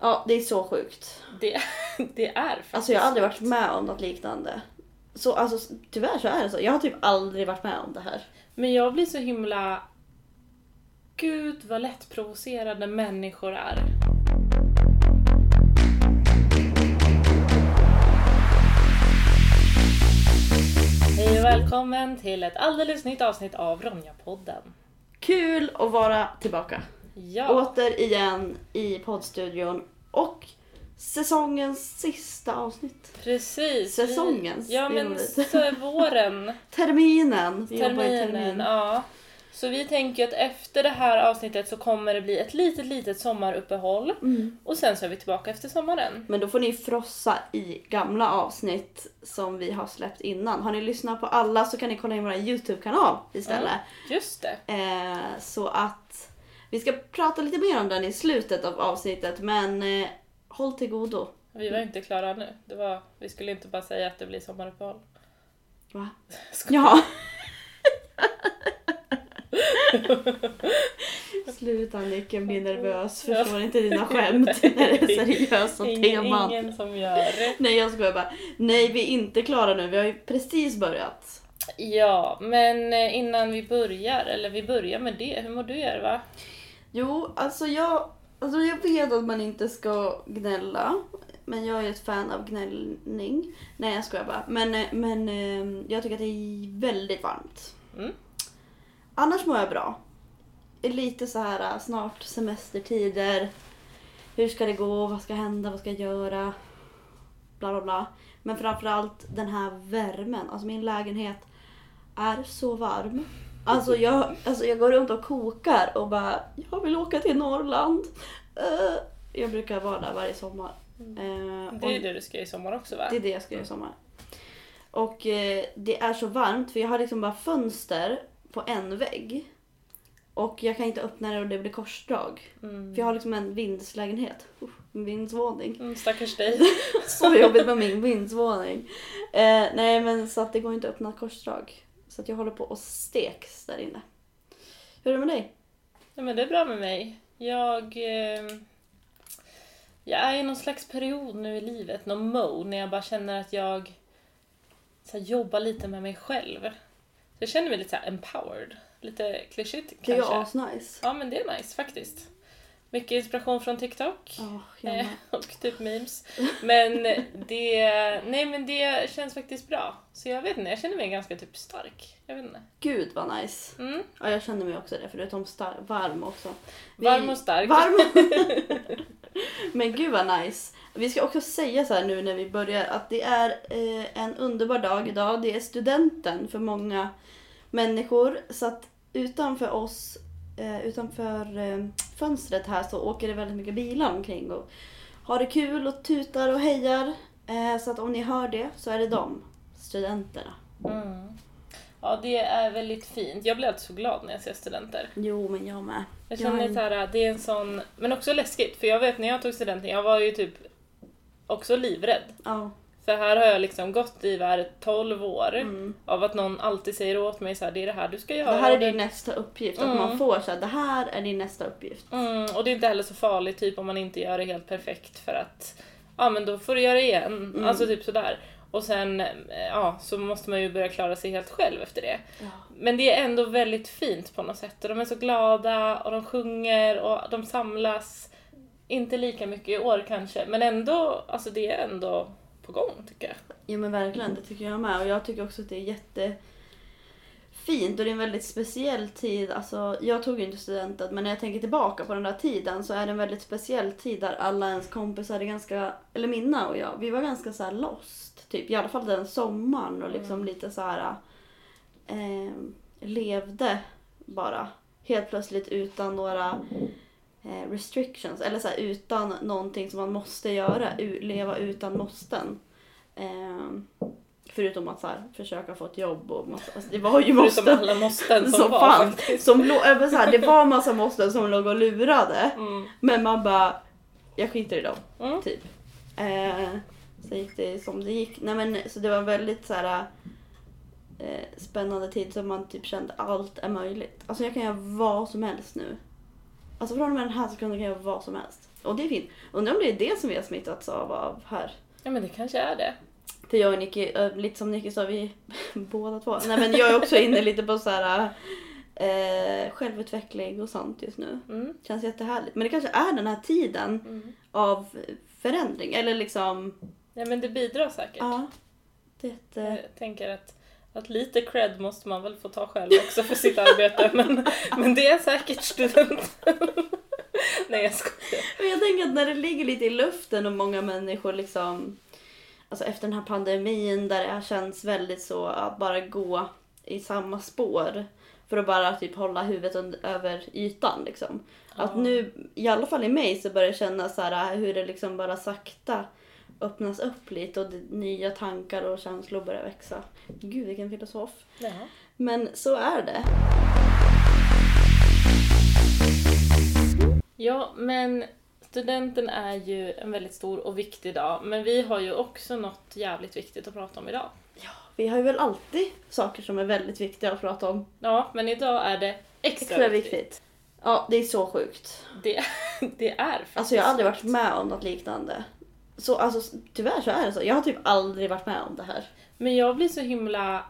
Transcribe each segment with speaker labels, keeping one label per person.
Speaker 1: Ja, det är så sjukt.
Speaker 2: Det, det är faktiskt
Speaker 1: Alltså jag har aldrig varit
Speaker 2: sjukt.
Speaker 1: med om något liknande. Så alltså tyvärr så är det så. Jag har typ aldrig varit med om det här.
Speaker 2: Men jag blir så himla... Gud vad lättprovocerade människor är. Hej och välkommen till ett alldeles nytt avsnitt av Ronja-podden.
Speaker 1: Kul att vara tillbaka.
Speaker 2: Ja,
Speaker 1: Återigen i poddstudion och säsongens sista avsnitt.
Speaker 2: precis. Vi-
Speaker 1: säsongens,
Speaker 2: Ja,
Speaker 1: det är
Speaker 2: men
Speaker 1: roligt.
Speaker 2: så är våren.
Speaker 1: Terminen. Vi jobbar i
Speaker 2: Terminen, ja. Så vi tänker att efter det här avsnittet så kommer det bli ett litet, litet sommaruppehåll.
Speaker 1: Mm.
Speaker 2: Och sen så är vi tillbaka efter sommaren.
Speaker 1: Men då får ni frossa i gamla avsnitt som vi har släppt innan. Har ni lyssnat på alla så kan ni kolla in vår YouTube-kanal istället.
Speaker 2: Just det.
Speaker 1: Eh, så att vi ska prata lite mer om den i slutet av avsnittet men eh, håll till godo.
Speaker 2: Vi var inte klara nu. Det var, vi skulle inte bara säga att det blir sommaruppehåll.
Speaker 1: Va?
Speaker 2: Sko-
Speaker 1: Ja. Sluta Nicken, blir nervös, förstår inte dina skämt när alltså, det är seriösa
Speaker 2: ingen,
Speaker 1: teman.
Speaker 2: ingen som gör det.
Speaker 1: Nej jag skojar bara. Nej vi är inte klara nu, vi har ju precis börjat.
Speaker 2: Ja, men eh, innan vi börjar, eller vi börjar med det. Hur mår du Järva?
Speaker 1: Jo, alltså jag, alltså jag vet att man inte ska gnälla. Men jag är ett fan av gnällning. Nej jag skojar bara. Men, eh, men eh, jag tycker att det är väldigt varmt.
Speaker 2: Mm.
Speaker 1: Annars mår jag bra. Är Lite så här eh, snart semestertider. Hur ska det gå? Vad ska hända? Vad ska jag göra? Bla bla bla. Men framförallt den här värmen. Alltså min lägenhet är så varm. Alltså jag, alltså jag går runt och kokar och bara jag vill åka till Norrland. Eh, jag brukar vara där varje sommar. Eh,
Speaker 2: Mm. Det
Speaker 1: och-
Speaker 2: är det du ska göra i sommar också va?
Speaker 1: det är det jag ska göra i sommar. Och eh, det är så varmt för jag har liksom bara fönster på en vägg. Och jag kan inte öppna det och det blir korsdrag.
Speaker 2: Mm.
Speaker 1: För jag har liksom en vindslägenhet. Uff, en vindsvåning.
Speaker 2: Mm, stackars dig.
Speaker 1: Så jobbigt med min vindsvåning. Eh, nej men så att det går inte att öppna ett korsdrag. Så att jag håller på och steks där inne. Hur är det med dig?
Speaker 2: Nej, men det är bra med mig. Jag, eh, jag är i någon slags period nu i livet, någon mode, när jag bara känner att jag så här, jobbar lite med mig själv. Så jag känner mig lite så här empowered. Lite klyschigt
Speaker 1: Det är ju
Speaker 2: kanske.
Speaker 1: asnice.
Speaker 2: Ja, men det är nice faktiskt. Mycket inspiration från TikTok.
Speaker 1: Ja, jag med.
Speaker 2: Eh, och typ memes. Men det, nej, men det känns faktiskt bra. Så jag vet inte, jag känner mig ganska typ stark. Jag vet inte.
Speaker 1: Gud vad nice.
Speaker 2: Mm.
Speaker 1: Ja, jag känner mig också det förutom star- varm också. Vi-
Speaker 2: Varm och stark.
Speaker 1: Varm. Men gud vad nice. Vi ska också säga så här nu när vi börjar att det är eh, en underbar dag idag. Det är studenten för många människor. Så att utanför oss, eh, utanför eh, fönstret här så åker det väldigt mycket bilar omkring och har det kul och tutar och hejar. Eh, så att om ni hör det så är det de, studenterna.
Speaker 2: Mm. Ja, det är väldigt fint. Jag blir alltid så glad när jag ser studenter.
Speaker 1: Jo, men jag med.
Speaker 2: Jag känner
Speaker 1: Ja.
Speaker 2: så här, det är en sån... Men också läskigt, för jag vet när jag tog studenten, jag var ju typ också livrädd.
Speaker 1: Ja.
Speaker 2: För här har jag liksom gått i vad är det, 12 år
Speaker 1: Mm.
Speaker 2: av att någon alltid säger åt mig så här, det är det här du ska göra.
Speaker 1: Det här är
Speaker 2: och
Speaker 1: din nästa uppgift. Att
Speaker 2: Mm.
Speaker 1: man får så här, det här är din nästa uppgift.
Speaker 2: Mm, och det är inte heller så farligt typ om man inte gör det helt perfekt för att ja men då får du göra det igen.
Speaker 1: Mm.
Speaker 2: Alltså typ sådär. Och sen eh, ja, så måste man ju börja klara sig helt själv efter det. Men det är ändå väldigt fint på något sätt och de är så glada och de sjunger och de samlas. Inte lika mycket i år kanske men ändå, alltså det är ändå på gång tycker jag.
Speaker 1: Ja men verkligen, det tycker jag med. Och jag tycker också att det är jättefint och det är en väldigt speciell tid. Alltså, jag tog ju inte studenten men när jag tänker tillbaka på den där tiden så är det en väldigt speciell tid där alla ens kompisar är ganska, eller mina och jag, vi var ganska så här lost. Typ. I alla fall den sommaren och liksom
Speaker 2: Mm.
Speaker 1: lite så här eh, levde bara. Helt plötsligt utan några eh, restrictions. Eller så här, utan någonting som man måste göra. U- leva utan måsten. Ehm, förutom att så här, försöka få ett jobb och massa, alltså, det var ju
Speaker 2: Förutom
Speaker 1: måsten
Speaker 2: alla måsten som,
Speaker 1: som
Speaker 2: var.
Speaker 1: fanns. Som låg, äh, men så här, det var massa måsten som låg och lurade.
Speaker 2: Mm.
Speaker 1: Men man bara, jag skiter i dem.
Speaker 2: Mm.
Speaker 1: Typ. Eh, så gick det som det gick. Nej, men, så det var en väldigt så här, eh, spännande tid som man typ kände allt är möjligt. Alltså jag kan göra vad som helst nu. Alltså från och med den här sekunden kan jag göra vad som helst. Och det är fint. Undrar om det är det som vi har smittats av, av här.
Speaker 2: Ja men det kanske är det.
Speaker 1: För jag och Nicky, eh, lite som Nicky sa, vi båda två. Nej men jag är också inne lite på så här eh, självutveckling och sånt just nu.
Speaker 2: Mm.
Speaker 1: Känns jättehärligt. Men det kanske är den här tiden
Speaker 2: Mm.
Speaker 1: av förändring. Eller liksom,
Speaker 2: Ja men det bidrar säkert.
Speaker 1: ja. Det, eh,
Speaker 2: Jag tänker att, att lite cred måste man väl få ta själv också för sitt arbete men, men det är säkert studenten. Nej jag skojar.
Speaker 1: Men jag tänker att när det ligger lite i luften och många människor liksom Alltså efter den här pandemin där det här känns väldigt så att bara gå i samma spår för att bara typ hålla huvudet und- över ytan liksom. Att
Speaker 2: Ja.
Speaker 1: nu, i alla fall i mig, så börjar jag känna så här hur det liksom bara sakta öppnas upp lite och det, nya tankar och känslor börjar växa. Gud vilken filosof.
Speaker 2: Ja.
Speaker 1: Men så är det.
Speaker 2: ja men studenten är ju en väldigt stor och viktig dag men vi har ju också något jävligt viktigt att prata om idag.
Speaker 1: Vi har ju väl alltid saker som är väldigt viktiga att prata om.
Speaker 2: Ja men idag är det extra,
Speaker 1: Extra
Speaker 2: viktigt.
Speaker 1: viktigt. Ja, det är så sjukt.
Speaker 2: Det, det är faktiskt
Speaker 1: Alltså jag har aldrig varit
Speaker 2: sjukt.
Speaker 1: med om något liknande. Så alltså tyvärr så är det så. Jag har typ aldrig varit med om det här.
Speaker 2: Men jag blir så himla...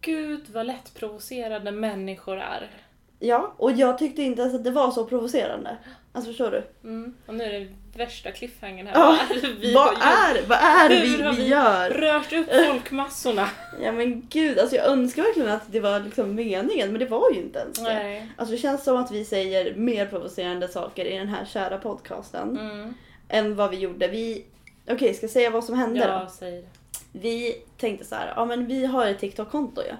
Speaker 2: Gud vad lättprovocerade människor är.
Speaker 1: Ja, och jag tyckte inte ens att det var så provocerande. Alltså förstår du?
Speaker 2: Mm. Och nu är det värsta cliffhangern här.
Speaker 1: Ja,
Speaker 2: Vad är det vi
Speaker 1: vad,
Speaker 2: har gjort?
Speaker 1: är, Eh. vad är det
Speaker 2: Hur har
Speaker 1: vi, vi
Speaker 2: vi-
Speaker 1: gör?
Speaker 2: Rört upp folkmassorna.
Speaker 1: Ja men gud, alltså jag önskar verkligen att det var liksom meningen men det var ju inte ens det.
Speaker 2: Nej.
Speaker 1: Alltså det känns som att vi säger mer provocerande saker i den här kära podcasten
Speaker 2: Mm.
Speaker 1: än vad vi gjorde. Vi, okej ska jag säga vad som hände då?
Speaker 2: Jag säger
Speaker 1: Vi tänkte så här, ja men vi har ett TikTok-konto ju.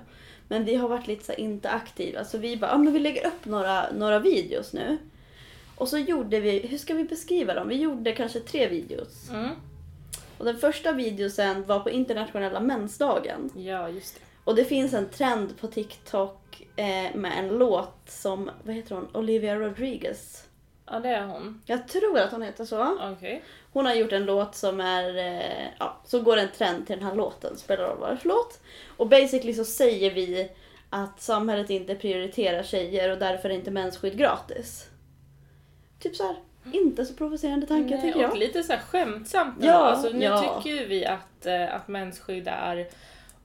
Speaker 1: Men vi har varit lite så här inte aktiva så vi bara, ja men vi lägger upp några, några videos nu. Och så gjorde vi, hur ska vi beskriva dem? Vi gjorde kanske tre videos.
Speaker 2: mm.
Speaker 1: Och den första videosen var på internationella mänsdagen.
Speaker 2: Ja, just det.
Speaker 1: Och det finns en trend på TikTok eh, med en låt som, vad heter hon, Olivia Rodriguez.
Speaker 2: Ja, det är hon.
Speaker 1: Jag tror att hon heter så.
Speaker 2: Okej.
Speaker 1: Hon har gjort en låt som är, eh, ja, så går en trend till den här låten, spelar roll vad det är för låt. Och basically så säger vi att samhället inte prioriterar tjejer och därför är inte mensskydd gratis. Typ såhär, inte så provocerande tanke
Speaker 2: Nej,
Speaker 1: tycker jag.
Speaker 2: Och lite så här skämtsamt
Speaker 1: Ja,
Speaker 2: ja, alltså, Nu
Speaker 1: ja.
Speaker 2: tycker ju vi att, eh, att mensskydd är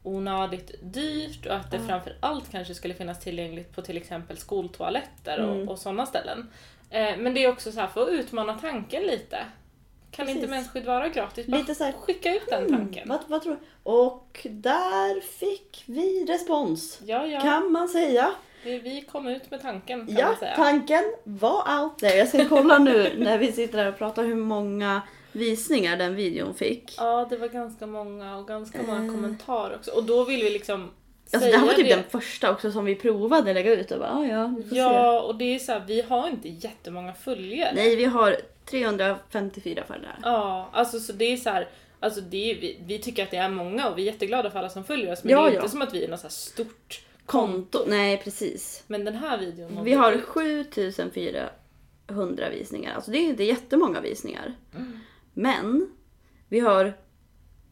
Speaker 2: onödigt dyrt och att det
Speaker 1: Ja.
Speaker 2: framför allt kanske skulle finnas tillgängligt på till exempel skoltoaletter
Speaker 1: Mm.
Speaker 2: och, och sådana ställen. Eh, men det är också så här, för att utmana tanken lite. Kan
Speaker 1: Precis.
Speaker 2: inte mensskydd vara gratis? Bara
Speaker 1: Lite så här, hmm,
Speaker 2: skicka ut den tanken.
Speaker 1: Mm. Vad, vad tror Och där fick vi respons.
Speaker 2: Ja, ja.
Speaker 1: Kan man säga.
Speaker 2: Vi, vi kom ut med tanken kan
Speaker 1: Ja,
Speaker 2: man säga.
Speaker 1: tanken var out there. Jag ska kolla nu när vi sitter här och pratar hur många visningar den videon fick.
Speaker 2: Ja, det var ganska många och ganska många
Speaker 1: Eh.
Speaker 2: kommentarer också. Och då vill vi liksom
Speaker 1: Alltså det här var typ den första också som vi provade lägga ut och bara "Ah, ja, vi får se.
Speaker 2: Ja, och det är så här, vi har inte jättemånga följare.
Speaker 1: Nej vi har 354 följare.
Speaker 2: Ja, alltså så det är så här, alltså det är, vi, vi tycker att det är många och vi är jätteglada för alla som följer oss men
Speaker 1: Ja,
Speaker 2: det är
Speaker 1: ja.
Speaker 2: inte som att vi är något så här stort.
Speaker 1: Konto? Nej precis.
Speaker 2: Men den här videon nådde
Speaker 1: Vi har
Speaker 2: ut.
Speaker 1: 7400 visningar. Alltså det är inte jättemånga visningar. Men vi har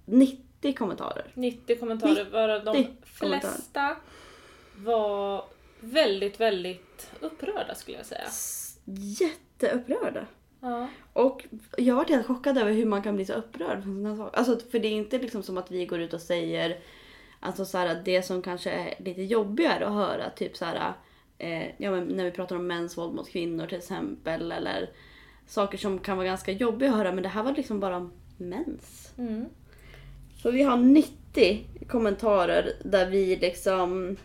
Speaker 1: 90 kommentarer.
Speaker 2: 90 kommentarer
Speaker 1: 90
Speaker 2: varav de
Speaker 1: kommentarer.
Speaker 2: flesta var väldigt, väldigt upprörda skulle jag säga.
Speaker 1: S- Jätteupprörda.
Speaker 2: Ja.
Speaker 1: Och jag har varit helt chockad över hur man kan bli så upprörd. För, såna saker. Alltså, för det är inte liksom som att vi går ut och säger alltså så här, det som kanske är lite jobbigare att höra. Typ så här, eh, ja, men när vi pratar om mäns våld mot kvinnor till exempel. Eller saker som kan vara ganska jobbiga att höra. Men det här var liksom bara om mens.
Speaker 2: Mm.
Speaker 1: Så vi har 90 kommentarer där vi liksom...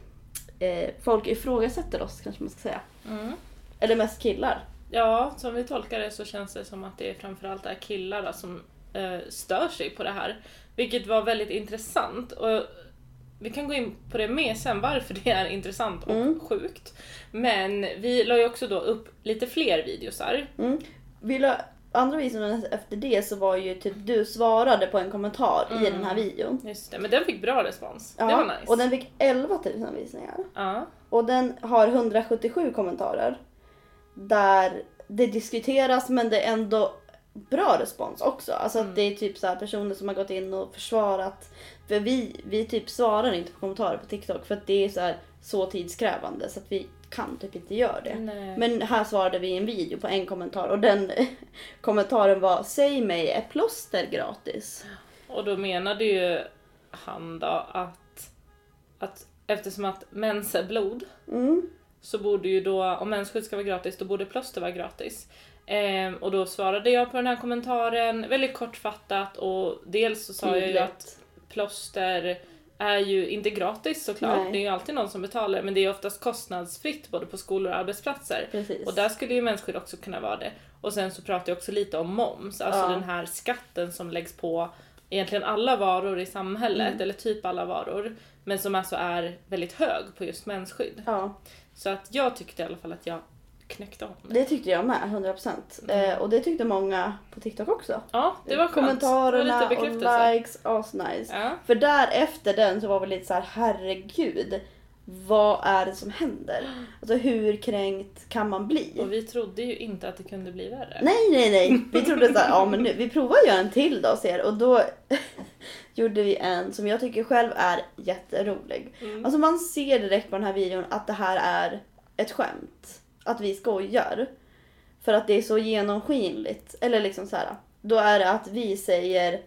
Speaker 1: Eh, folk ifrågasätter oss kanske man ska säga.
Speaker 2: Mm.
Speaker 1: Eller mest killar.
Speaker 2: Ja, som vi tolkar det så känns det som att det framförallt är killar då, som eh, stör sig på det här. Vilket var väldigt intressant. Och vi kan gå in på det mer sen, varför det är intressant och
Speaker 1: Mm.
Speaker 2: sjukt. Men vi la ju också då upp lite fler videosar.
Speaker 1: Mm. Vill jag, andra videon efter det så var ju typ du svarade på en kommentar i
Speaker 2: Mm.
Speaker 1: den här videon.
Speaker 2: Just det, men den fick bra respons.
Speaker 1: Ja,
Speaker 2: Det var nice.
Speaker 1: Och den fick 11 000 visningar.
Speaker 2: Ja.
Speaker 1: Och den har 177 kommentarer. Där det diskuteras men det är ändå bra respons också. Alltså att
Speaker 2: Mm.
Speaker 1: det är typ så här personer som har gått in och försvarat. För vi, vi typ svarar inte på kommentarer på TikTok för att det är så, här, så tidskrävande så att vi kan typ inte göra det.
Speaker 2: Nej.
Speaker 1: Men här svarade vi i en video på en kommentar och den kommentaren var Säg mig, är plåster gratis?
Speaker 2: Och då menade ju han då att, att eftersom att mens är blod
Speaker 1: Mm.
Speaker 2: så borde ju då, om mensskydd ska vara gratis, då borde plåster vara gratis. Ehm, och då svarade jag på den här kommentaren väldigt kortfattat och dels så sa jag ju att plåster är ju inte gratis såklart,
Speaker 1: Nej.
Speaker 2: det är ju alltid någon som betalar men det är ju oftast kostnadsfritt både på skolor och arbetsplatser.
Speaker 1: Precis.
Speaker 2: Och där skulle ju mensskydd också kunna vara det. Och sen så pratar jag också lite om moms, alltså
Speaker 1: Ja.
Speaker 2: den här skatten som läggs på egentligen alla varor i samhället,
Speaker 1: Mm.
Speaker 2: eller typ alla varor, men som alltså är väldigt hög på just mensskydd.
Speaker 1: Ja,
Speaker 2: Så att jag tyckte i alla fall att jag knäckte om det.
Speaker 1: det tyckte jag med, 100%. Eh, och det tyckte många på TikTok också.
Speaker 2: Ja, Mm. det var skönt. Det var
Speaker 1: Kommentarerna
Speaker 2: lite bekräftelse.
Speaker 1: och likes, asnice.
Speaker 2: Ja.
Speaker 1: För där efter den så var vi lite så här: herregud. Vad är det som händer? Alltså hur kränkt kan man bli?
Speaker 2: Och vi trodde ju inte att det kunde bli värre.
Speaker 1: Nej, nej, nej. Vi trodde så här, ja men nu, vi provar att göra en till då och ser. Och då gjorde vi en som jag tycker själv är jätterolig.
Speaker 2: Mm.
Speaker 1: Alltså man ser direkt på den här videon att det här är ett skämt. Att vi skojar. För att det är så genomskinligt. Eller liksom så här. Då är det att vi säger,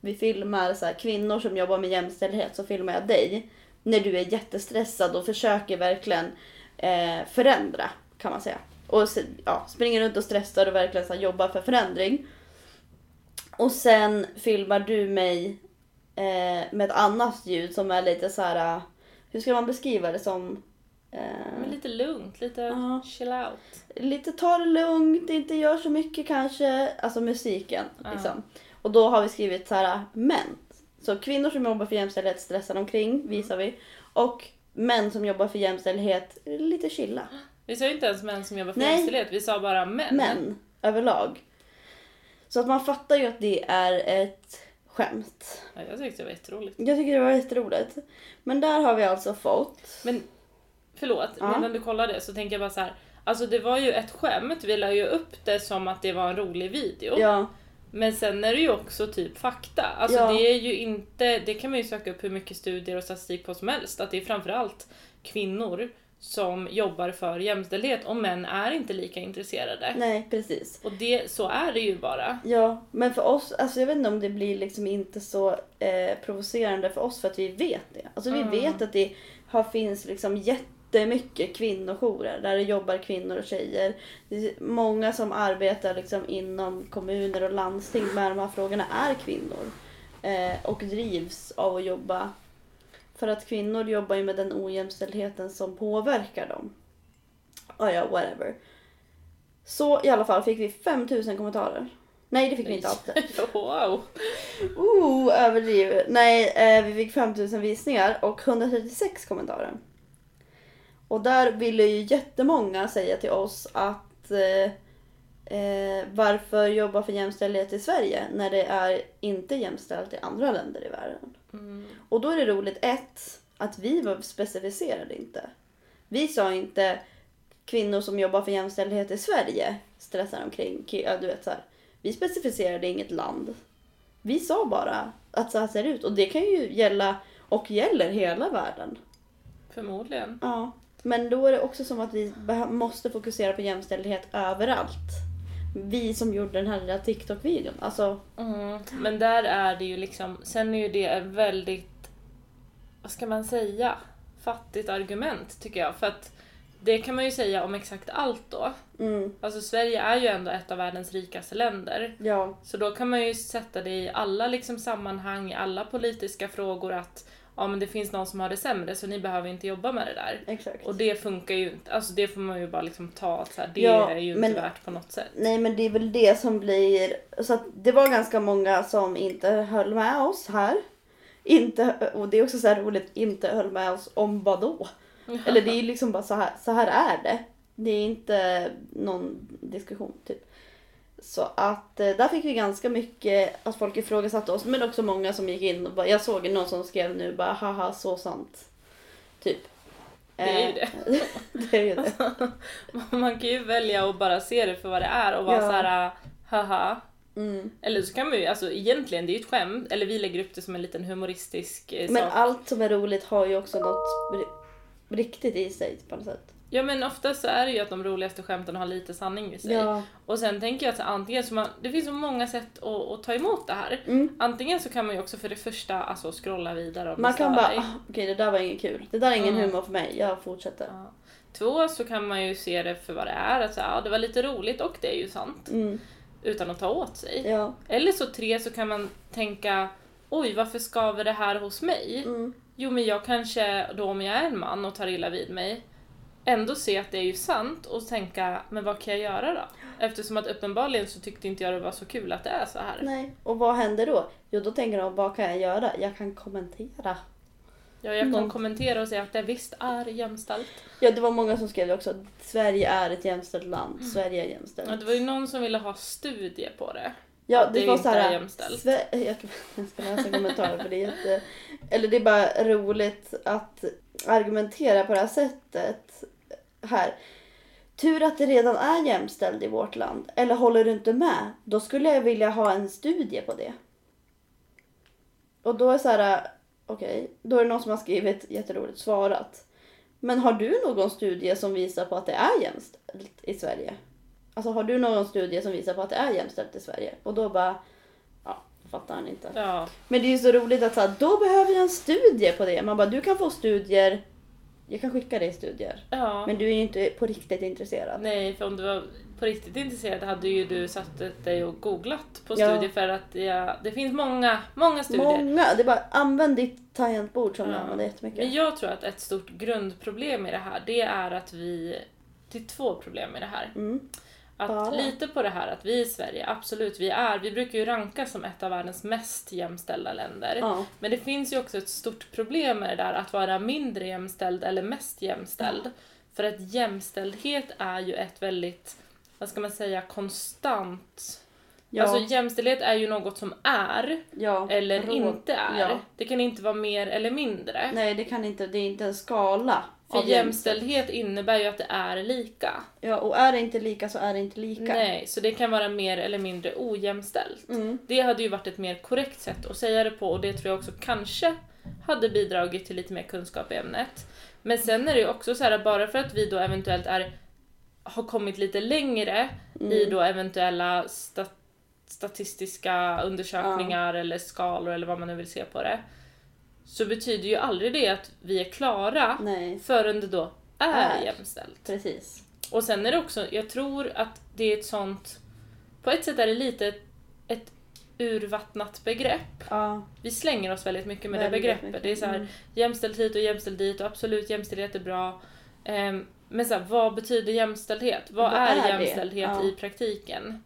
Speaker 1: vi filmar så här, kvinnor som jobbar med jämställdhet så filmar jag dig. När du är jättestressad och försöker verkligen eh, förändra kan man säga. Och se- ja, springer runt och stressar och verkligen så här, jobbar för förändring. Och sen filmar du mig eh, med ett annat ljud som är lite så här. eh, Hur ska man beskriva det som? Eh,
Speaker 2: Men lite lugnt, lite
Speaker 1: Ja.
Speaker 2: chill out.
Speaker 1: lite ta det lugnt, inte gör så mycket kanske. Alltså musiken. Liksom. Och då har vi skrivit så här, män. Så kvinnor som jobbar för jämställdhet stressar omkring, visar vi. Och män som jobbar för jämställdhet, lite chilla.
Speaker 2: Vi sa ju inte ens män som jobbar för
Speaker 1: Nej.
Speaker 2: jämställdhet, vi sa bara män.
Speaker 1: Män, överlag. Så att man fattar ju att det är ett skämt.
Speaker 2: Ja, jag tyckte det var jätteroligt.
Speaker 1: Jag tycker det var jätteroligt. Men där har vi alltså fått...
Speaker 2: Men förlåt,
Speaker 1: Ja.
Speaker 2: medan du kollar det så tänker jag bara så här. Alltså det var ju ett skämt, vi la ju upp det som att det var en rolig video.
Speaker 1: Ja,
Speaker 2: Men sen är det ju också typ fakta. Alltså
Speaker 1: Ja.
Speaker 2: det är ju inte, det kan man ju söka upp hur mycket studier och statistik på som helst. Att det är framförallt kvinnor som jobbar för jämställdhet och män är inte lika intresserade.
Speaker 1: nej precis.
Speaker 2: Och det, så är det ju bara.
Speaker 1: Ja, men för oss, alltså jag vet inte om det blir liksom inte så eh, provocerande för oss för att vi vet det. Alltså vi
Speaker 2: Mm.
Speaker 1: vet att det har, finns liksom jättemycket kvinnojourer där det jobbar kvinnor och tjejer. Det är många som arbetar liksom inom kommuner och landsting med de här frågorna är kvinnor. Eh, och drivs av att jobba för att kvinnor jobbar ju med den ojämställdheten som påverkar dem. Ja, ja, whatever. Så i alla fall fick vi 5000 kommentarer. Nej, det fick vi inte alls.
Speaker 2: wow!
Speaker 1: Oh, överdrivet. Nej, eh, vi fick 5000 visningar och 136 kommentarer. Och där ville ju jättemånga säga till oss att eh, eh, varför jobba för jämställdhet i Sverige när det är inte jämställt i andra länder i världen.
Speaker 2: Mm,
Speaker 1: Och då är det roligt, ett, att vi var- specificerade inte. Vi sa inte kvinnor som jobbar för jämställdhet i Sverige stressar omkring. ki- Ja, du vet, så här. Vi specificerade inget land. Vi sa bara att så här ser det ut och det kan ju gälla och gäller hela världen.
Speaker 2: Förmodligen.
Speaker 1: Ja. Men då är det också som att vi beh- måste fokusera på jämställdhet överallt. Vi som gjorde den här lilla TikTok-videon. Alltså,
Speaker 2: Mm. Men där är det ju liksom, sen är ju det ett väldigt, vad ska man säga, fattigt argument tycker jag. För att det kan man ju säga om exakt allt då.
Speaker 1: mm,
Speaker 2: Alltså Sverige är ju ändå ett av världens rikaste länder.
Speaker 1: ja.
Speaker 2: Så då kan man ju sätta det i alla liksom sammanhang, i alla politiska frågor att ja men det finns någon som har det sämre så ni behöver inte jobba med det där.
Speaker 1: Exakt.
Speaker 2: Och det funkar ju inte, alltså det får man ju bara liksom ta att så här, det
Speaker 1: Ja,
Speaker 2: är ju
Speaker 1: men-
Speaker 2: inte värt på något sätt.
Speaker 1: Nej men det är väl det som blir... Så att det var ganska många som inte höll med oss här. Inte, och det är också så här roligt, inte höll med oss om vad då? Eller det är ju liksom bara så här, så här är det. Det är inte någon diskussion typ. Så att eh, där fick vi ganska mycket att folk ifrågasatte oss men också många som gick in och bara, jag såg någon som skrev nu bara haha så sant. Typ. Eh,
Speaker 2: Det är ju det.
Speaker 1: det är ju det.
Speaker 2: Man kan ju välja att bara se det för vad det är och vara
Speaker 1: Ja.
Speaker 2: så såhär haha.
Speaker 1: Mm.
Speaker 2: Eller så kan man ju, alltså egentligen det är ju ett skämt, eller vi lägger upp det som en liten humoristisk eh,
Speaker 1: Men
Speaker 2: sak.
Speaker 1: allt som är roligt har ju också något ri- riktigt i sig på något sätt.
Speaker 2: Ja men oftast så är det ju att de roligaste skämten har lite sanning i sig.
Speaker 1: Ja.
Speaker 2: Och sen tänker jag att så antingen så man, det finns så många sätt att, att ta emot det här.
Speaker 1: Mm.
Speaker 2: Antingen så kan man ju också för det första alltså scrolla vidare om
Speaker 1: Man
Speaker 2: det
Speaker 1: kan
Speaker 2: stör
Speaker 1: bara,
Speaker 2: dig.
Speaker 1: ah, okej det där var inget kul. Det där är ingen
Speaker 2: Mm.
Speaker 1: humor för mig, jag fortsätter.
Speaker 2: Ja. Två så kan man ju se det för vad det är, att så här, ja, det var lite roligt och det är ju sant.
Speaker 1: Mm.
Speaker 2: Utan att ta åt sig.
Speaker 1: Ja.
Speaker 2: Eller så tre så kan man tänka Oj, varför skaver det här hos mig?
Speaker 1: Mm.
Speaker 2: Jo, men jag kanske då om jag är en man och tar illa vid mig ändå se att det är ju sant och tänka, men vad kan jag göra då? Eftersom att uppenbarligen så tyckte inte jag det var så kul att det är så här.
Speaker 1: Nej. Och vad händer då? Jo då tänker de, vad kan jag göra? Jag kan kommentera.
Speaker 2: Ja, jag kan
Speaker 1: Mm.
Speaker 2: kommentera och säga att det visst är jämställt.
Speaker 1: Ja det var många som skrev det också, att Sverige är ett jämställt land. Sverige är jämställt.
Speaker 2: Mm. Ja, det var ju någon som ville ha studie på det.
Speaker 1: Ja,
Speaker 2: Att
Speaker 1: det,
Speaker 2: det
Speaker 1: var
Speaker 2: inte
Speaker 1: så här,
Speaker 2: är jämställt.
Speaker 1: Sve- jag, ska, jag ska läsa kommentarer för det är jätte... Eller det är bara roligt att argumentera på det här sättet. Här. Tur att det redan är jämställd i vårt land. Eller håller du inte med? Då skulle jag vilja ha en studie på det. Och då är så här, okej, då är det någon som har skrivit jätteroligt, svarat. Men har du någon studie som visar på att det är jämställt i Sverige? Alltså har du någon studie som visar på att det är jämställt i Sverige? Och då bara, ja, fattar han inte.
Speaker 2: Ja,
Speaker 1: Men det är ju så roligt att så här, då behöver jag en studie på det. Man bara, du kan få studier, jag kan skicka dig studier.
Speaker 2: ja.
Speaker 1: Men du är ju inte på riktigt intresserad.
Speaker 2: Nej, för om du var på riktigt intresserad hade ju du satt dig och googlat på
Speaker 1: Ja.
Speaker 2: studier för att ja, det finns många, många studier.
Speaker 1: Många, det är bara använd ditt tangentbord som du
Speaker 2: Ja.
Speaker 1: använder jättemycket.
Speaker 2: Men jag tror att ett stort grundproblem i det här, det är att vi... Det är två problem i det här.
Speaker 1: Mm.
Speaker 2: Att
Speaker 1: Bara?
Speaker 2: lite på det här att vi i Sverige, absolut, vi är, vi brukar ju ranka som ett av världens mest jämställda länder.
Speaker 1: Ja.
Speaker 2: Men det finns ju också ett stort problem med det där att vara mindre jämställd eller mest jämställd. För att jämställdhet är ju ett väldigt, vad ska man säga, konstant...
Speaker 1: Ja.
Speaker 2: Alltså jämställdhet är ju något som är
Speaker 1: ja.
Speaker 2: eller
Speaker 1: Rå-
Speaker 2: inte är.
Speaker 1: Ja.
Speaker 2: Det kan inte vara mer eller mindre.
Speaker 1: Nej, det kan inte, det är inte en skala.
Speaker 2: För
Speaker 1: av
Speaker 2: jämställdhet innebär ju att det är lika.
Speaker 1: Ja, och är det inte lika så är det inte lika.
Speaker 2: Nej, så det kan vara mer eller mindre ojämställt.
Speaker 1: Mm.
Speaker 2: Det hade ju varit ett mer korrekt sätt att säga det på och det tror jag också kanske hade bidragit till lite mer kunskap i ämnet. Men sen är det ju också så här att bara för att vi då eventuellt är, har kommit lite längre
Speaker 1: Mm.
Speaker 2: i då eventuella sta- statistiska undersökningar eller skalor eller vad man nu vill se på det. Så betyder ju aldrig det att vi är klara
Speaker 1: Nej,
Speaker 2: förrän det då är,
Speaker 1: Är.
Speaker 2: jämställt.
Speaker 1: precis.
Speaker 2: Och sen är det också, jag tror att det är ett sånt, på ett sätt är det lite ett, ett urvattnat begrepp.
Speaker 1: Ja.
Speaker 2: Vi slänger oss väldigt mycket med det
Speaker 1: Väldigt
Speaker 2: begreppet.
Speaker 1: mycket,
Speaker 2: Det är så här,
Speaker 1: mm.
Speaker 2: jämställt hit och jämställd dit och absolut jämställdhet är bra. Ehm, men så här, vad betyder jämställdhet? Vad,
Speaker 1: Vad
Speaker 2: är,
Speaker 1: är det?
Speaker 2: jämställdhet
Speaker 1: Ja.
Speaker 2: i praktiken?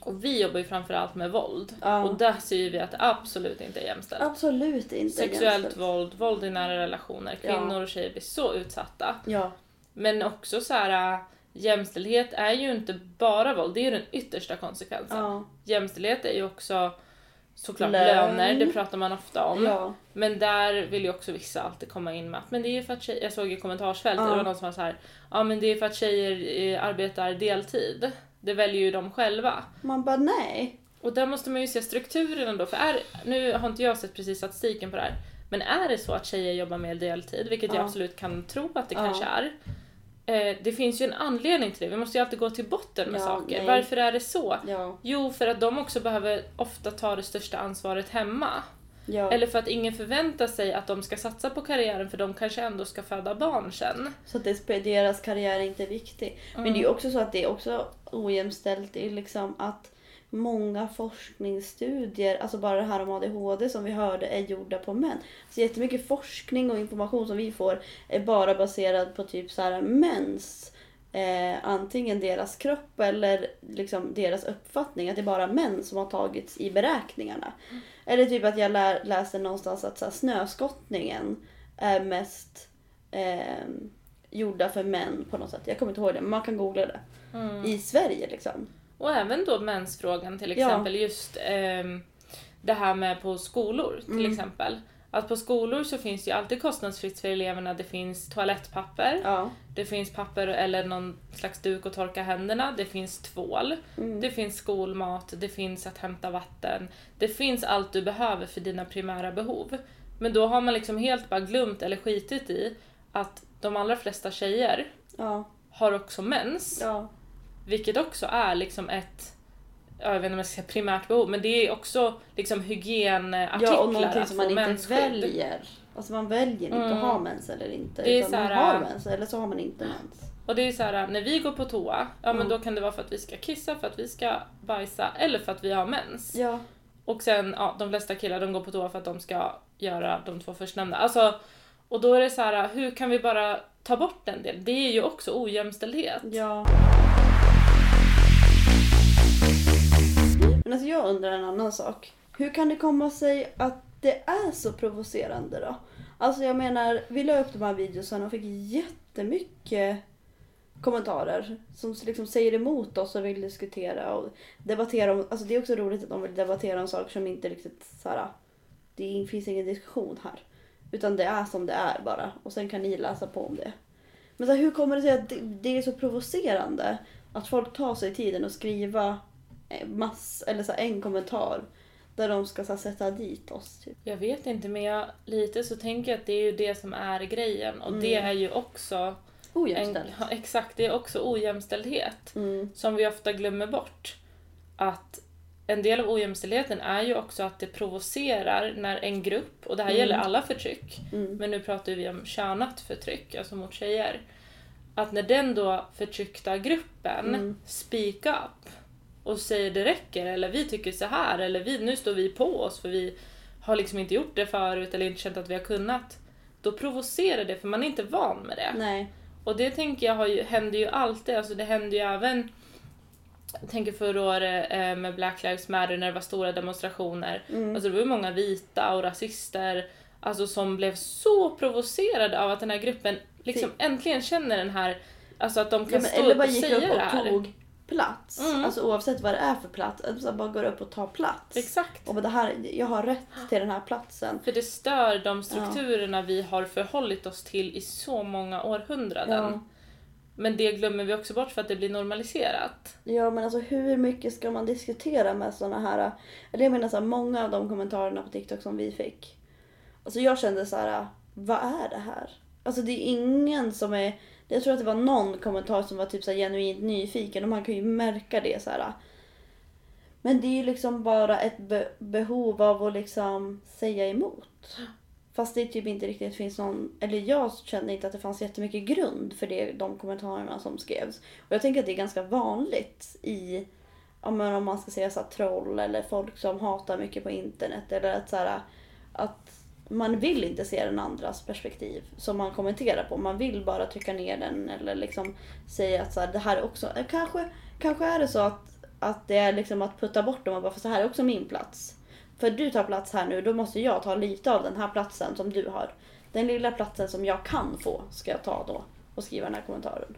Speaker 2: Och vi jobbar ju framförallt med våld.
Speaker 1: Ja.
Speaker 2: Och där ser ju vi att det absolut inte är jämställt.
Speaker 1: Absolut inte
Speaker 2: Sexuellt
Speaker 1: jämställt.
Speaker 2: våld, våld i nära relationer.
Speaker 1: Ja.
Speaker 2: Kvinnor och tjejer blir så utsatta.
Speaker 1: Ja.
Speaker 2: Men också så här, äh, jämställdhet är ju inte bara våld, det är ju den yttersta konsekvensen.
Speaker 1: Ja.
Speaker 2: Jämställdhet är ju också såklart
Speaker 1: Lön.
Speaker 2: löner, det pratar man ofta om.
Speaker 1: ja.
Speaker 2: Men där vill ju också vissa alltid komma in med att men det är ju för att tjejer, jag såg i kommentarsfältet,
Speaker 1: Ja.
Speaker 2: det var någon som var så här, ja men det är för att tjejer eh, arbetar deltid. Det väljer ju de själva.
Speaker 1: Man bara nej.
Speaker 2: Och där måste man ju se strukturerna då, för är, nu har inte jag sett precis statistiken på det här, men är det så att tjejer jobbar mer deltid, vilket
Speaker 1: Ja.
Speaker 2: jag absolut kan tro att det
Speaker 1: Ja.
Speaker 2: kanske är, eh, det finns ju en anledning till det, vi måste ju alltid gå till botten med
Speaker 1: Ja,
Speaker 2: saker.
Speaker 1: nej.
Speaker 2: Varför är det så?
Speaker 1: Ja.
Speaker 2: Jo, för att de också behöver ofta ta det största ansvaret hemma.
Speaker 1: ja.
Speaker 2: Eller för att ingen förväntar sig att de ska satsa på karriären för de kanske ändå ska föda barn sen.
Speaker 1: Så att det, deras karriär är inte viktig. Men det är ju också så att det är också ojämställt i liksom att många forskningsstudier, alltså bara det här om ADHD som vi hörde, är gjorda på män. Så jättemycket forskning och information som vi får är bara baserad på typ så här mäns Eh, antingen deras kropp eller liksom deras uppfattning att det är bara män som har tagits i beräkningarna. Eller typ att jag lär, läste någonstans att så här, snöskottningen är mest eh, gjorda för män på något sätt. Jag kommer inte ihåg det, men man kan googla det.
Speaker 2: Mm.
Speaker 1: I Sverige liksom.
Speaker 2: Och även då mensfrågan till
Speaker 1: Ja.
Speaker 2: exempel, just ehm, det här med på skolor till exempel. Att på skolor så finns det ju alltid kostnadsfritt för eleverna, det finns toalettpapper,
Speaker 1: Ja.
Speaker 2: det finns papper eller någon slags duk att torka händerna, det finns tvål,
Speaker 1: Mm.
Speaker 2: det finns skolmat, det finns att hämta vatten, det finns allt du behöver för dina primära behov. Men då har man liksom helt bara glömt eller skitit i att de allra flesta tjejer
Speaker 1: Ja.
Speaker 2: har också mens.
Speaker 1: Ja.
Speaker 2: Vilket också är liksom ett ja, jag vet inte om jag ska säga primärt behov, men det är också liksom hygienartiklar
Speaker 1: ja, och någonting
Speaker 2: att
Speaker 1: som
Speaker 2: få
Speaker 1: man inte
Speaker 2: alltså, mensskydd.
Speaker 1: väljer. Alltså man väljer inte
Speaker 2: Mm.
Speaker 1: att ha mens eller inte.
Speaker 2: Det är äh,
Speaker 1: utan man
Speaker 2: såhär-
Speaker 1: har mens eller så har man inte mens.
Speaker 2: Och det är så här, när vi går på toa, ja men
Speaker 1: Mm.
Speaker 2: då kan det vara för att vi ska kissa, för att vi ska bajsa eller för att vi har mens.
Speaker 1: Ja.
Speaker 2: Och sen, ja de flesta killar de går på toa för att de ska göra de två förstnämnda. Alltså, och då är det så här, hur kan vi bara ta bort den delen? Det är ju också ojämställdhet.
Speaker 1: Ja. Men alltså jag undrar en annan sak. Hur kan det komma sig att det är så provocerande då? Alltså jag menar, vi la upp de här videorna och fick jättemycket kommentarer som liksom säger emot oss och vill diskutera och debattera om, alltså det är också roligt att de vill debattera om saker som inte riktigt så här. det finns ingen diskussion här. Utan det är som det är bara och sen kan ni läsa på om det. Men så här, hur kommer det sig att det, det är så provocerande att folk tar sig tiden att skriva eh, mass, eller så här, en kommentar där de ska så här, sätta dit oss? Typ.
Speaker 2: Jag vet inte, men jag, lite så tänker jag att det är ju det som är grejen. Och
Speaker 1: Mm.
Speaker 2: det är ju också... En,
Speaker 1: Ojämställt.
Speaker 2: ja, exakt, det är också ojämställdhet.
Speaker 1: Mm.
Speaker 2: som vi ofta glömmer bort. Att en del av ojämställdheten är ju också att det provocerar när en grupp, och det här
Speaker 1: Mm.
Speaker 2: gäller alla förtryck,
Speaker 1: Mm.
Speaker 2: men nu pratar vi om könat förtryck, alltså mot tjejer. Att när den då förtryckta gruppen
Speaker 1: Mm.
Speaker 2: speak up och säger det räcker, eller vi tycker så här, eller vi, nu står vi på oss för vi har liksom inte gjort det förut eller inte känt att vi har kunnat. Då provocerar det för man är inte van med det.
Speaker 1: Nej.
Speaker 2: Och det tänker jag har ju, händer ju alltid, alltså det händer ju även jag tänker förra året eh, med Black Lives Matter när det var stora demonstrationer.
Speaker 1: Mm.
Speaker 2: Alltså det var ju många vita och rasister alltså som blev så provocerade av att den här gruppen liksom äntligen känner den här, alltså att de
Speaker 1: Ja,
Speaker 2: kan
Speaker 1: men,
Speaker 2: stå
Speaker 1: eller
Speaker 2: upp
Speaker 1: bara
Speaker 2: och
Speaker 1: gick
Speaker 2: säga
Speaker 1: upp
Speaker 2: det
Speaker 1: och
Speaker 2: här.
Speaker 1: tog plats.
Speaker 2: Mm.
Speaker 1: Alltså oavsett vad det är för plats. att Så här, bara går upp och tar plats.
Speaker 2: Exakt.
Speaker 1: Och bara, det här, jag har rätt till den här platsen.
Speaker 2: För det stör de strukturerna vi har förhållit oss till i så många århundraden.
Speaker 1: Ja.
Speaker 2: Men det glömmer vi också bort för att det blir normaliserat.
Speaker 1: Ja men alltså hur mycket ska man diskutera med såna här, eller jag menar så här, många av de kommentarerna på TikTok som vi fick. Alltså jag kände så här, vad är det här? Alltså det är ingen som är, jag tror att det var någon kommentar som var typ så här genuint nyfiken och man kan ju märka det så här. Men det är ju liksom bara ett be- behov av att liksom säga emot. Fast det typ inte riktigt finns någon, eller jag kände inte att det fanns jättemycket grund för det, de kommentarerna som skrevs. Och jag tänker att det är ganska vanligt i, ja, men om man ska säga så här, troll eller folk som hatar mycket på internet. Eller att, så här, att man vill inte se den andras perspektiv som man kommenterar på. Man vill bara trycka ner den eller liksom säga att så här, det här är också, eh, kanske, kanske är det så att, att det är liksom att putta bort dem och bara för så här är också min plats. För du tar plats här nu, då måste jag ta lite av den här platsen som du har. Den lilla platsen som jag kan få ska jag ta då och skriva den här kommentaren.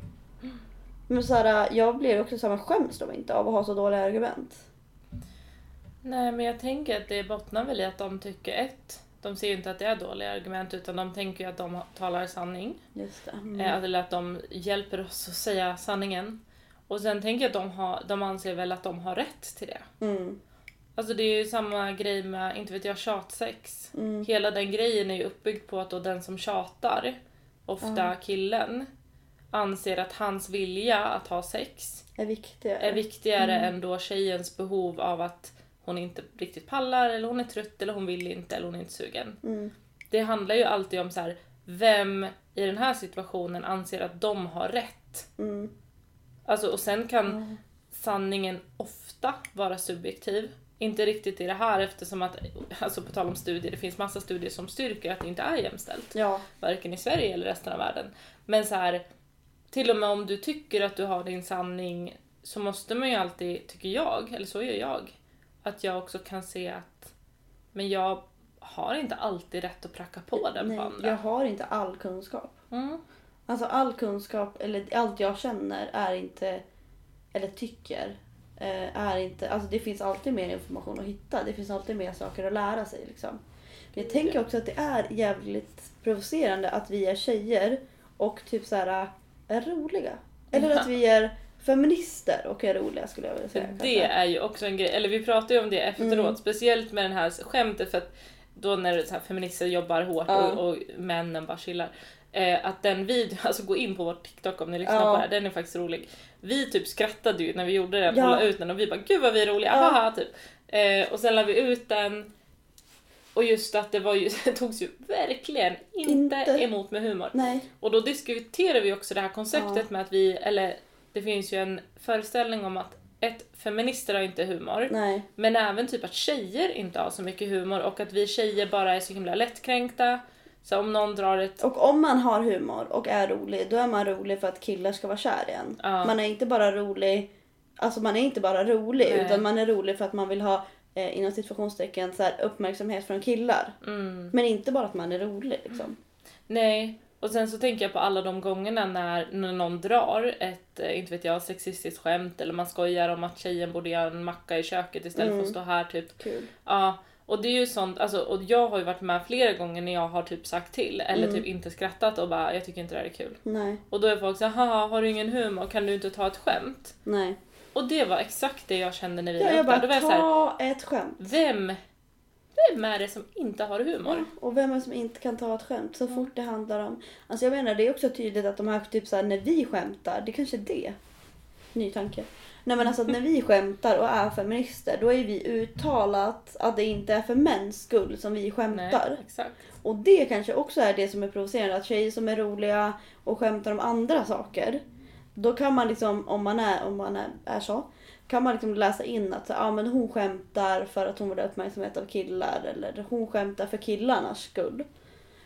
Speaker 1: Men så här, jag blir också samma skäms de inte av att ha så dåliga argument.
Speaker 2: Nej, men jag tänker att det bottnar väl i att de tycker ett, de ser ju inte att det är dåliga argument utan de tänker ju att de talar sanning.
Speaker 1: Just det.
Speaker 2: eh, Eller att de hjälper oss att säga sanningen. Och sen tänker jag att de, har, de anser väl att de har rätt till det.
Speaker 1: Mm.
Speaker 2: Alltså det är ju samma grej med, inte vet jag, tjatsex.
Speaker 1: Mm.
Speaker 2: Hela den grejen är ju uppbyggd på att då den som tjatar, ofta killen, anser att hans vilja att ha sex
Speaker 1: Är viktiga.
Speaker 2: är viktigare än då tjejens behov av att hon inte riktigt pallar eller hon är trött eller hon vill inte eller hon är inte sugen.
Speaker 1: Mm.
Speaker 2: Det handlar ju alltid om så här, vem i den här situationen anser att de har rätt?
Speaker 1: Mm.
Speaker 2: Alltså, och sen kan sanningen ofta vara subjektiv. Inte riktigt i det här eftersom att, alltså på tal om studier, det finns massa studier som styrker att det inte är jämställt
Speaker 1: Ja.
Speaker 2: varken i Sverige eller resten av världen. Men så här, till och med om du tycker att du har din sanning så måste man ju alltid, tycker jag, eller så gör jag, att jag också kan se att men jag har inte alltid rätt att pracka på den
Speaker 1: Nej,
Speaker 2: på andra.
Speaker 1: jag har inte all kunskap.
Speaker 2: Mm.
Speaker 1: Alltså all kunskap, eller allt jag känner är inte, eller tycker, eh, är inte, alltså det finns alltid mer information att hitta. Det finns alltid mer saker att lära sig liksom. Men jag tänker också att det är jävligt provocerande att vi är tjejer och typ så här är roliga. Eller att vi är feminister och är roliga skulle jag vilja
Speaker 2: För
Speaker 1: säga.
Speaker 2: det
Speaker 1: kanske.
Speaker 2: är ju också en grej, eller vi pratade ju om det efteråt,
Speaker 1: Mm.
Speaker 2: speciellt med den här skämtet för att då när så här, feminister jobbar hårt
Speaker 1: Ja.
Speaker 2: och, och männen bara chillar. Eh, att den videon, alltså gå in på vår TikTok om ni lyssnar
Speaker 1: Ja.
Speaker 2: på det här, den är faktiskt rolig. Vi typ skrattade ju när vi gjorde den
Speaker 1: Ja.
Speaker 2: och la ut den och vi bara gud vad vi är roliga,
Speaker 1: Ja.
Speaker 2: haha typ. Eh, och sen la vi ut den och just att det var ju, det togs ju verkligen inte,
Speaker 1: Inte.
Speaker 2: emot med humor.
Speaker 1: Nej.
Speaker 2: Och då diskuterar vi också det här konceptet
Speaker 1: Ja.
Speaker 2: med att vi, eller det finns ju en föreställning om att ett, feminister har inte humor.
Speaker 1: Nej.
Speaker 2: Men även typ att tjejer inte har så mycket humor och att vi tjejer bara är så himla lättkränkta. Så om någon drar ett...
Speaker 1: Och om man har humor och är rolig, då är man rolig för att killar ska vara kär i en.
Speaker 2: Ja.
Speaker 1: Man är inte bara rolig, alltså man är inte bara rolig,
Speaker 2: Nej.
Speaker 1: utan man är rolig för att man vill ha eh, inom situationstecken så här, uppmärksamhet från killar.
Speaker 2: Mm,
Speaker 1: Men inte bara att man är rolig liksom.
Speaker 2: nej. Och sen så tänker jag på alla de gångerna när, när någon drar ett, eh, inte vet jag, sexistiskt skämt eller man skojar om att tjejen borde göra en macka i köket istället
Speaker 1: Mm.
Speaker 2: för att stå här typ.
Speaker 1: Kul.
Speaker 2: Ja, och det är ju sånt, alltså, och jag har ju varit med flera gånger när jag har typ sagt till eller
Speaker 1: Mm.
Speaker 2: typ inte skrattat och bara jag tycker inte det här är kul.
Speaker 1: Nej,
Speaker 2: Och då är folk såhär, haha har du ingen humor, kan du inte ta ett skämt?
Speaker 1: nej.
Speaker 2: Och det var exakt det jag kände när vi
Speaker 1: Ja,
Speaker 2: var
Speaker 1: jag
Speaker 2: uppe. Då var
Speaker 1: bara,
Speaker 2: jag såhär,
Speaker 1: ta ett skämt.
Speaker 2: vem, vem är det som inte har humor?
Speaker 1: Och vem är det som inte kan ta ett skämt så fort det handlar om... Alltså jag menar det är också tydligt att de här typ så här, när vi skämtar, det kanske är det. Ny tanke. Nej men alltså att när vi skämtar och är feminister då är vi uttalat att det inte är för mäns skull som vi
Speaker 2: Nej,
Speaker 1: skämtar.
Speaker 2: exakt.
Speaker 1: Och det kanske också är det som är provocerande, att tjejer som är roliga och skämtar om andra saker. Då kan man liksom, om man är, om man är, är så, kan man liksom läsa in att så, ah, men hon skämtar för att hon vill ha uppmärksamhet av killar eller hon skämtar för killarnas skull.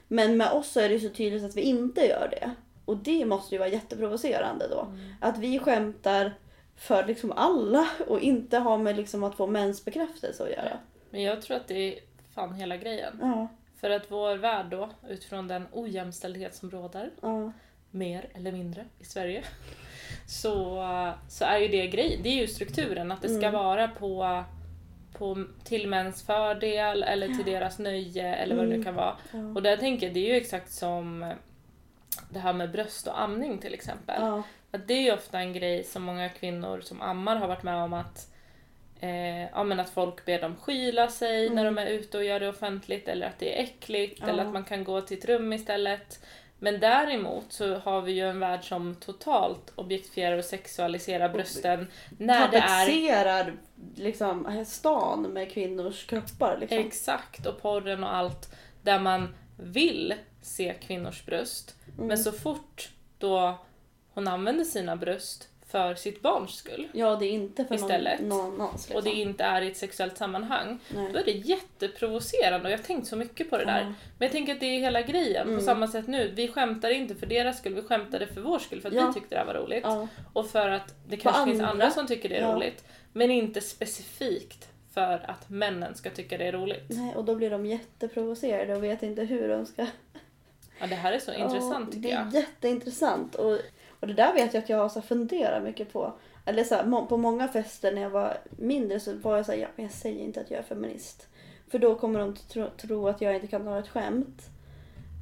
Speaker 1: Men med oss så är det så tydligt att vi inte gör det. Och det måste ju vara jätteprovocerande då.
Speaker 2: Mm.
Speaker 1: Att vi skämtar för liksom alla och inte har med liksom att få mäns bekräftelse att göra.
Speaker 2: Men jag tror att det är fan hela grejen.
Speaker 1: Ja,
Speaker 2: För att vår värld då, utifrån den ojämställdhet som råder,
Speaker 1: ja,
Speaker 2: mer eller mindre, i Sverige, så, så är ju det grejen. Det är ju strukturen, att det ska vara på, på, till mäns fördel eller till deras nöje eller vad det nu
Speaker 1: Mm.
Speaker 2: kan vara.
Speaker 1: ja,
Speaker 2: Och där tänker jag, det är ju exakt som det här med bröst och amning till exempel.
Speaker 1: ja,
Speaker 2: Att det är ju ofta en grej som många kvinnor som ammar har varit med om att Eh, ja, men att folk ber dem skyla sig när de är ute och gör det offentligt eller att det är äckligt
Speaker 1: Mm. Ja.
Speaker 2: eller att man kan gå till ett rum istället. Men däremot så har vi ju en värld som totalt objektifierar och sexualiserar brösten när det är
Speaker 1: tapetserar liksom stan med kvinnors kroppar. Liksom.
Speaker 2: exakt och porren och allt där man vill se kvinnors bröst.
Speaker 1: Mm.
Speaker 2: Men så fort då hon använder sina bröst för sitt barns skull
Speaker 1: Ja, det är inte för
Speaker 2: Istället.
Speaker 1: någon, någon annans. Liksom.
Speaker 2: och det inte är i ett sexuellt sammanhang,
Speaker 1: Nej.
Speaker 2: då är det jätteprovocerande och jag har tänkt så mycket på det där.
Speaker 1: Ja. Mm.
Speaker 2: Men jag tänker att det är hela grejen. På samma sätt nu, vi skämtar inte för deras skull, vi skämtade för vår skull för att
Speaker 1: Ja.
Speaker 2: vi tyckte det här var roligt.
Speaker 1: Ja,
Speaker 2: Och för att det kanske finns
Speaker 1: andra.
Speaker 2: andra som tycker det är
Speaker 1: Ja.
Speaker 2: roligt. Men inte specifikt för att männen ska tycka det är roligt.
Speaker 1: nej, och då blir de jätteprovocerade och vet inte hur de ska...
Speaker 2: Ja, det här är så
Speaker 1: Ja,
Speaker 2: intressant tycker
Speaker 1: Det är
Speaker 2: jag.
Speaker 1: jätteintressant. Och, och det där vet jag att jag har så här funderat mycket på. Eller så här, må- på många fester när jag var mindre så var jag så här, ja, men jag säger inte att jag är feminist. För då kommer de att tro, tro att jag inte kan dra ett skämt.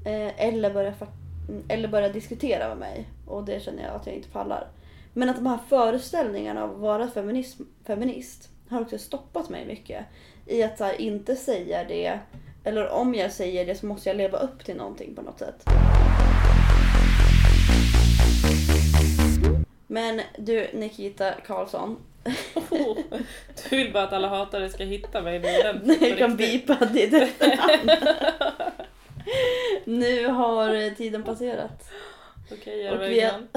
Speaker 1: Eh, eller, börja, fa- mm, eller börja diskutera med mig. Och det känner jag att jag inte pallar. Men att de här föreställningarna av att vara feminism, feminist har också stoppat mig mycket. I att så här, inte säga det. Eller om jag säger det så måste jag leva upp till någonting på något sätt. Men du Nikita Karlsson.
Speaker 2: Oh, du vill bara att alla hatare ska hitta mig i bilden.
Speaker 1: Nej,
Speaker 2: På
Speaker 1: jag kan
Speaker 2: riktigt.
Speaker 1: bipa ditt efternamn. Nu har tiden passerat.
Speaker 2: Okej, gör
Speaker 1: Och
Speaker 2: vad Mm.
Speaker 1: vi-
Speaker 2: jag kan.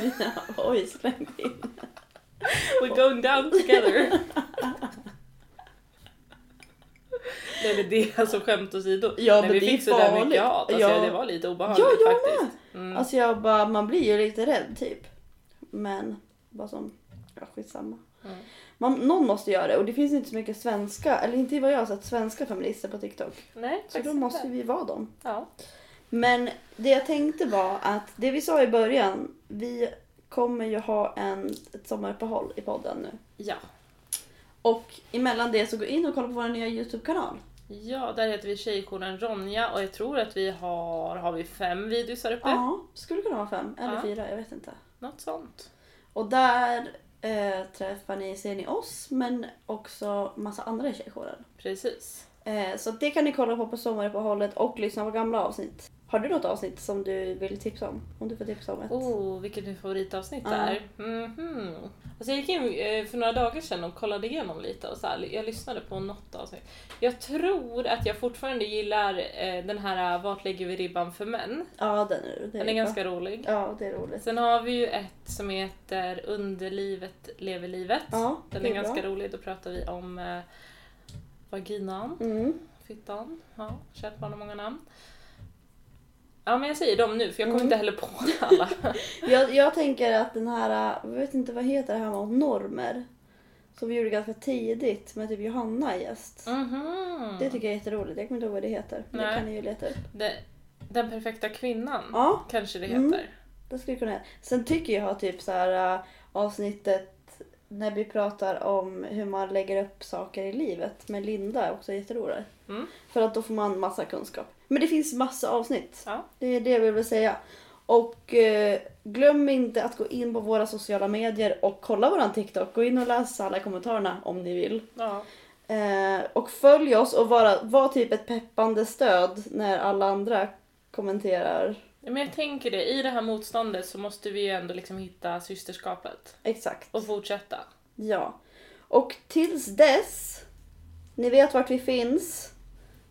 Speaker 1: Vi har, oj, slängt in.
Speaker 2: We're going down together. Nej men det är alltså skämt åsido.
Speaker 1: Ja,
Speaker 2: Nej,
Speaker 1: men
Speaker 2: vi
Speaker 1: det
Speaker 2: fick
Speaker 1: är
Speaker 2: så där
Speaker 1: farligt.
Speaker 2: mycket hat. Alltså,
Speaker 1: Ja.
Speaker 2: Det var lite obehagligt
Speaker 1: Ja, jag
Speaker 2: faktiskt. Mm.
Speaker 1: Alltså jag bara, man blir ju lite rädd typ. Men bara som, ja skitsamma.
Speaker 2: Mm.
Speaker 1: Man, någon måste göra det och det finns inte så mycket svenska, eller inte vad jag har sett, svenska feminister på TikTok.
Speaker 2: Alltså, Nej,
Speaker 1: Så då
Speaker 2: faktiskt
Speaker 1: måste
Speaker 2: inte.
Speaker 1: vi vara dem.
Speaker 2: Ja.
Speaker 1: Men det jag tänkte var att det vi sa i början, vi kommer ju ha en, ett sommaruppehåll i podden nu.
Speaker 2: Ja.
Speaker 1: Och emellan det så gå in och kolla på vår nya Youtube-kanal.
Speaker 2: ja, där heter vi Tjejjouren Ronja och jag tror att vi har, har vi fem videos här uppe.
Speaker 1: Ja, skulle kunna vara fem eller
Speaker 2: Ja.
Speaker 1: fyra, jag vet inte.
Speaker 2: Något sånt.
Speaker 1: Och där eh, träffar ni, ser ni oss men också massa andra i tjejjouren.
Speaker 2: Precis.
Speaker 1: Eh, så det kan ni kolla på på sommaruppehållet och lyssna på gamla avsnitt. Har du något avsnitt som du vill tipsa om? Om du får tipsa om ett.
Speaker 2: Oh, vilket mitt favoritavsnitt
Speaker 1: Ja.
Speaker 2: är. Mhm. Alltså jag gick in eh, för några dagar sedan och kollade igenom lite och så här, jag lyssnade på något avsnitt. Jag tror att jag fortfarande gillar eh, den här eh, Vart lägger vi ribban för män?
Speaker 1: Ja, den är, den
Speaker 2: Den är ganska rolig.
Speaker 1: Ja, det är roligt.
Speaker 2: Sen har vi ju ett som heter Underlivet lever livet.
Speaker 1: Ja,
Speaker 2: Den
Speaker 1: det
Speaker 2: är
Speaker 1: är bra.
Speaker 2: ganska rolig, då pratar vi om eh, vaginan.
Speaker 1: Mm.
Speaker 2: Fittan. Ja, kärt barn har många namn. Ja men jag säger dem nu för jag kommer
Speaker 1: Mm.
Speaker 2: inte heller på alla.
Speaker 1: Jag, jag tänker att den här, jag vet inte vad heter det här med normer? Som vi gjorde ganska tidigt med typ Johanna i gäst.
Speaker 2: Mhm.
Speaker 1: Det tycker jag är jätteroligt. Jag kommer inte ihåg vad det heter. Men det
Speaker 2: Nej. Mm.
Speaker 1: kan ni ju leta upp.
Speaker 2: Det- Den perfekta kvinnan
Speaker 1: Ja.
Speaker 2: kanske det heter.
Speaker 1: Mm. Det skulle kunna Sen tycker jag typ så här äh, avsnittet när vi pratar om hur man lägger upp saker i livet med Linda är också jätteroligt.
Speaker 2: Mm.
Speaker 1: För att då får man massa kunskap. Men det finns massa avsnitt.
Speaker 2: Ja.
Speaker 1: Det är det vi vill säga. Och eh, glöm inte att gå in på våra sociala medier och kolla våran TikTok. Gå in och läs alla kommentarerna om ni vill.
Speaker 2: Ja.
Speaker 1: Eh, och följ oss och vara, var typ ett peppande stöd när alla andra kommenterar.
Speaker 2: Men jag tänker det, i det här motståndet så måste vi ju ändå liksom hitta systerskapet
Speaker 1: Exakt.
Speaker 2: och fortsätta.
Speaker 1: Ja. Och tills dess, ni vet vart vi finns.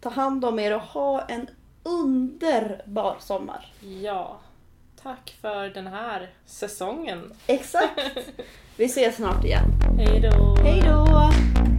Speaker 1: Ta hand om er och ha en underbar sommar.
Speaker 2: Ja. Tack för den här säsongen.
Speaker 1: Exakt. Vi ses snart igen.
Speaker 2: Hej då!
Speaker 1: Hej då!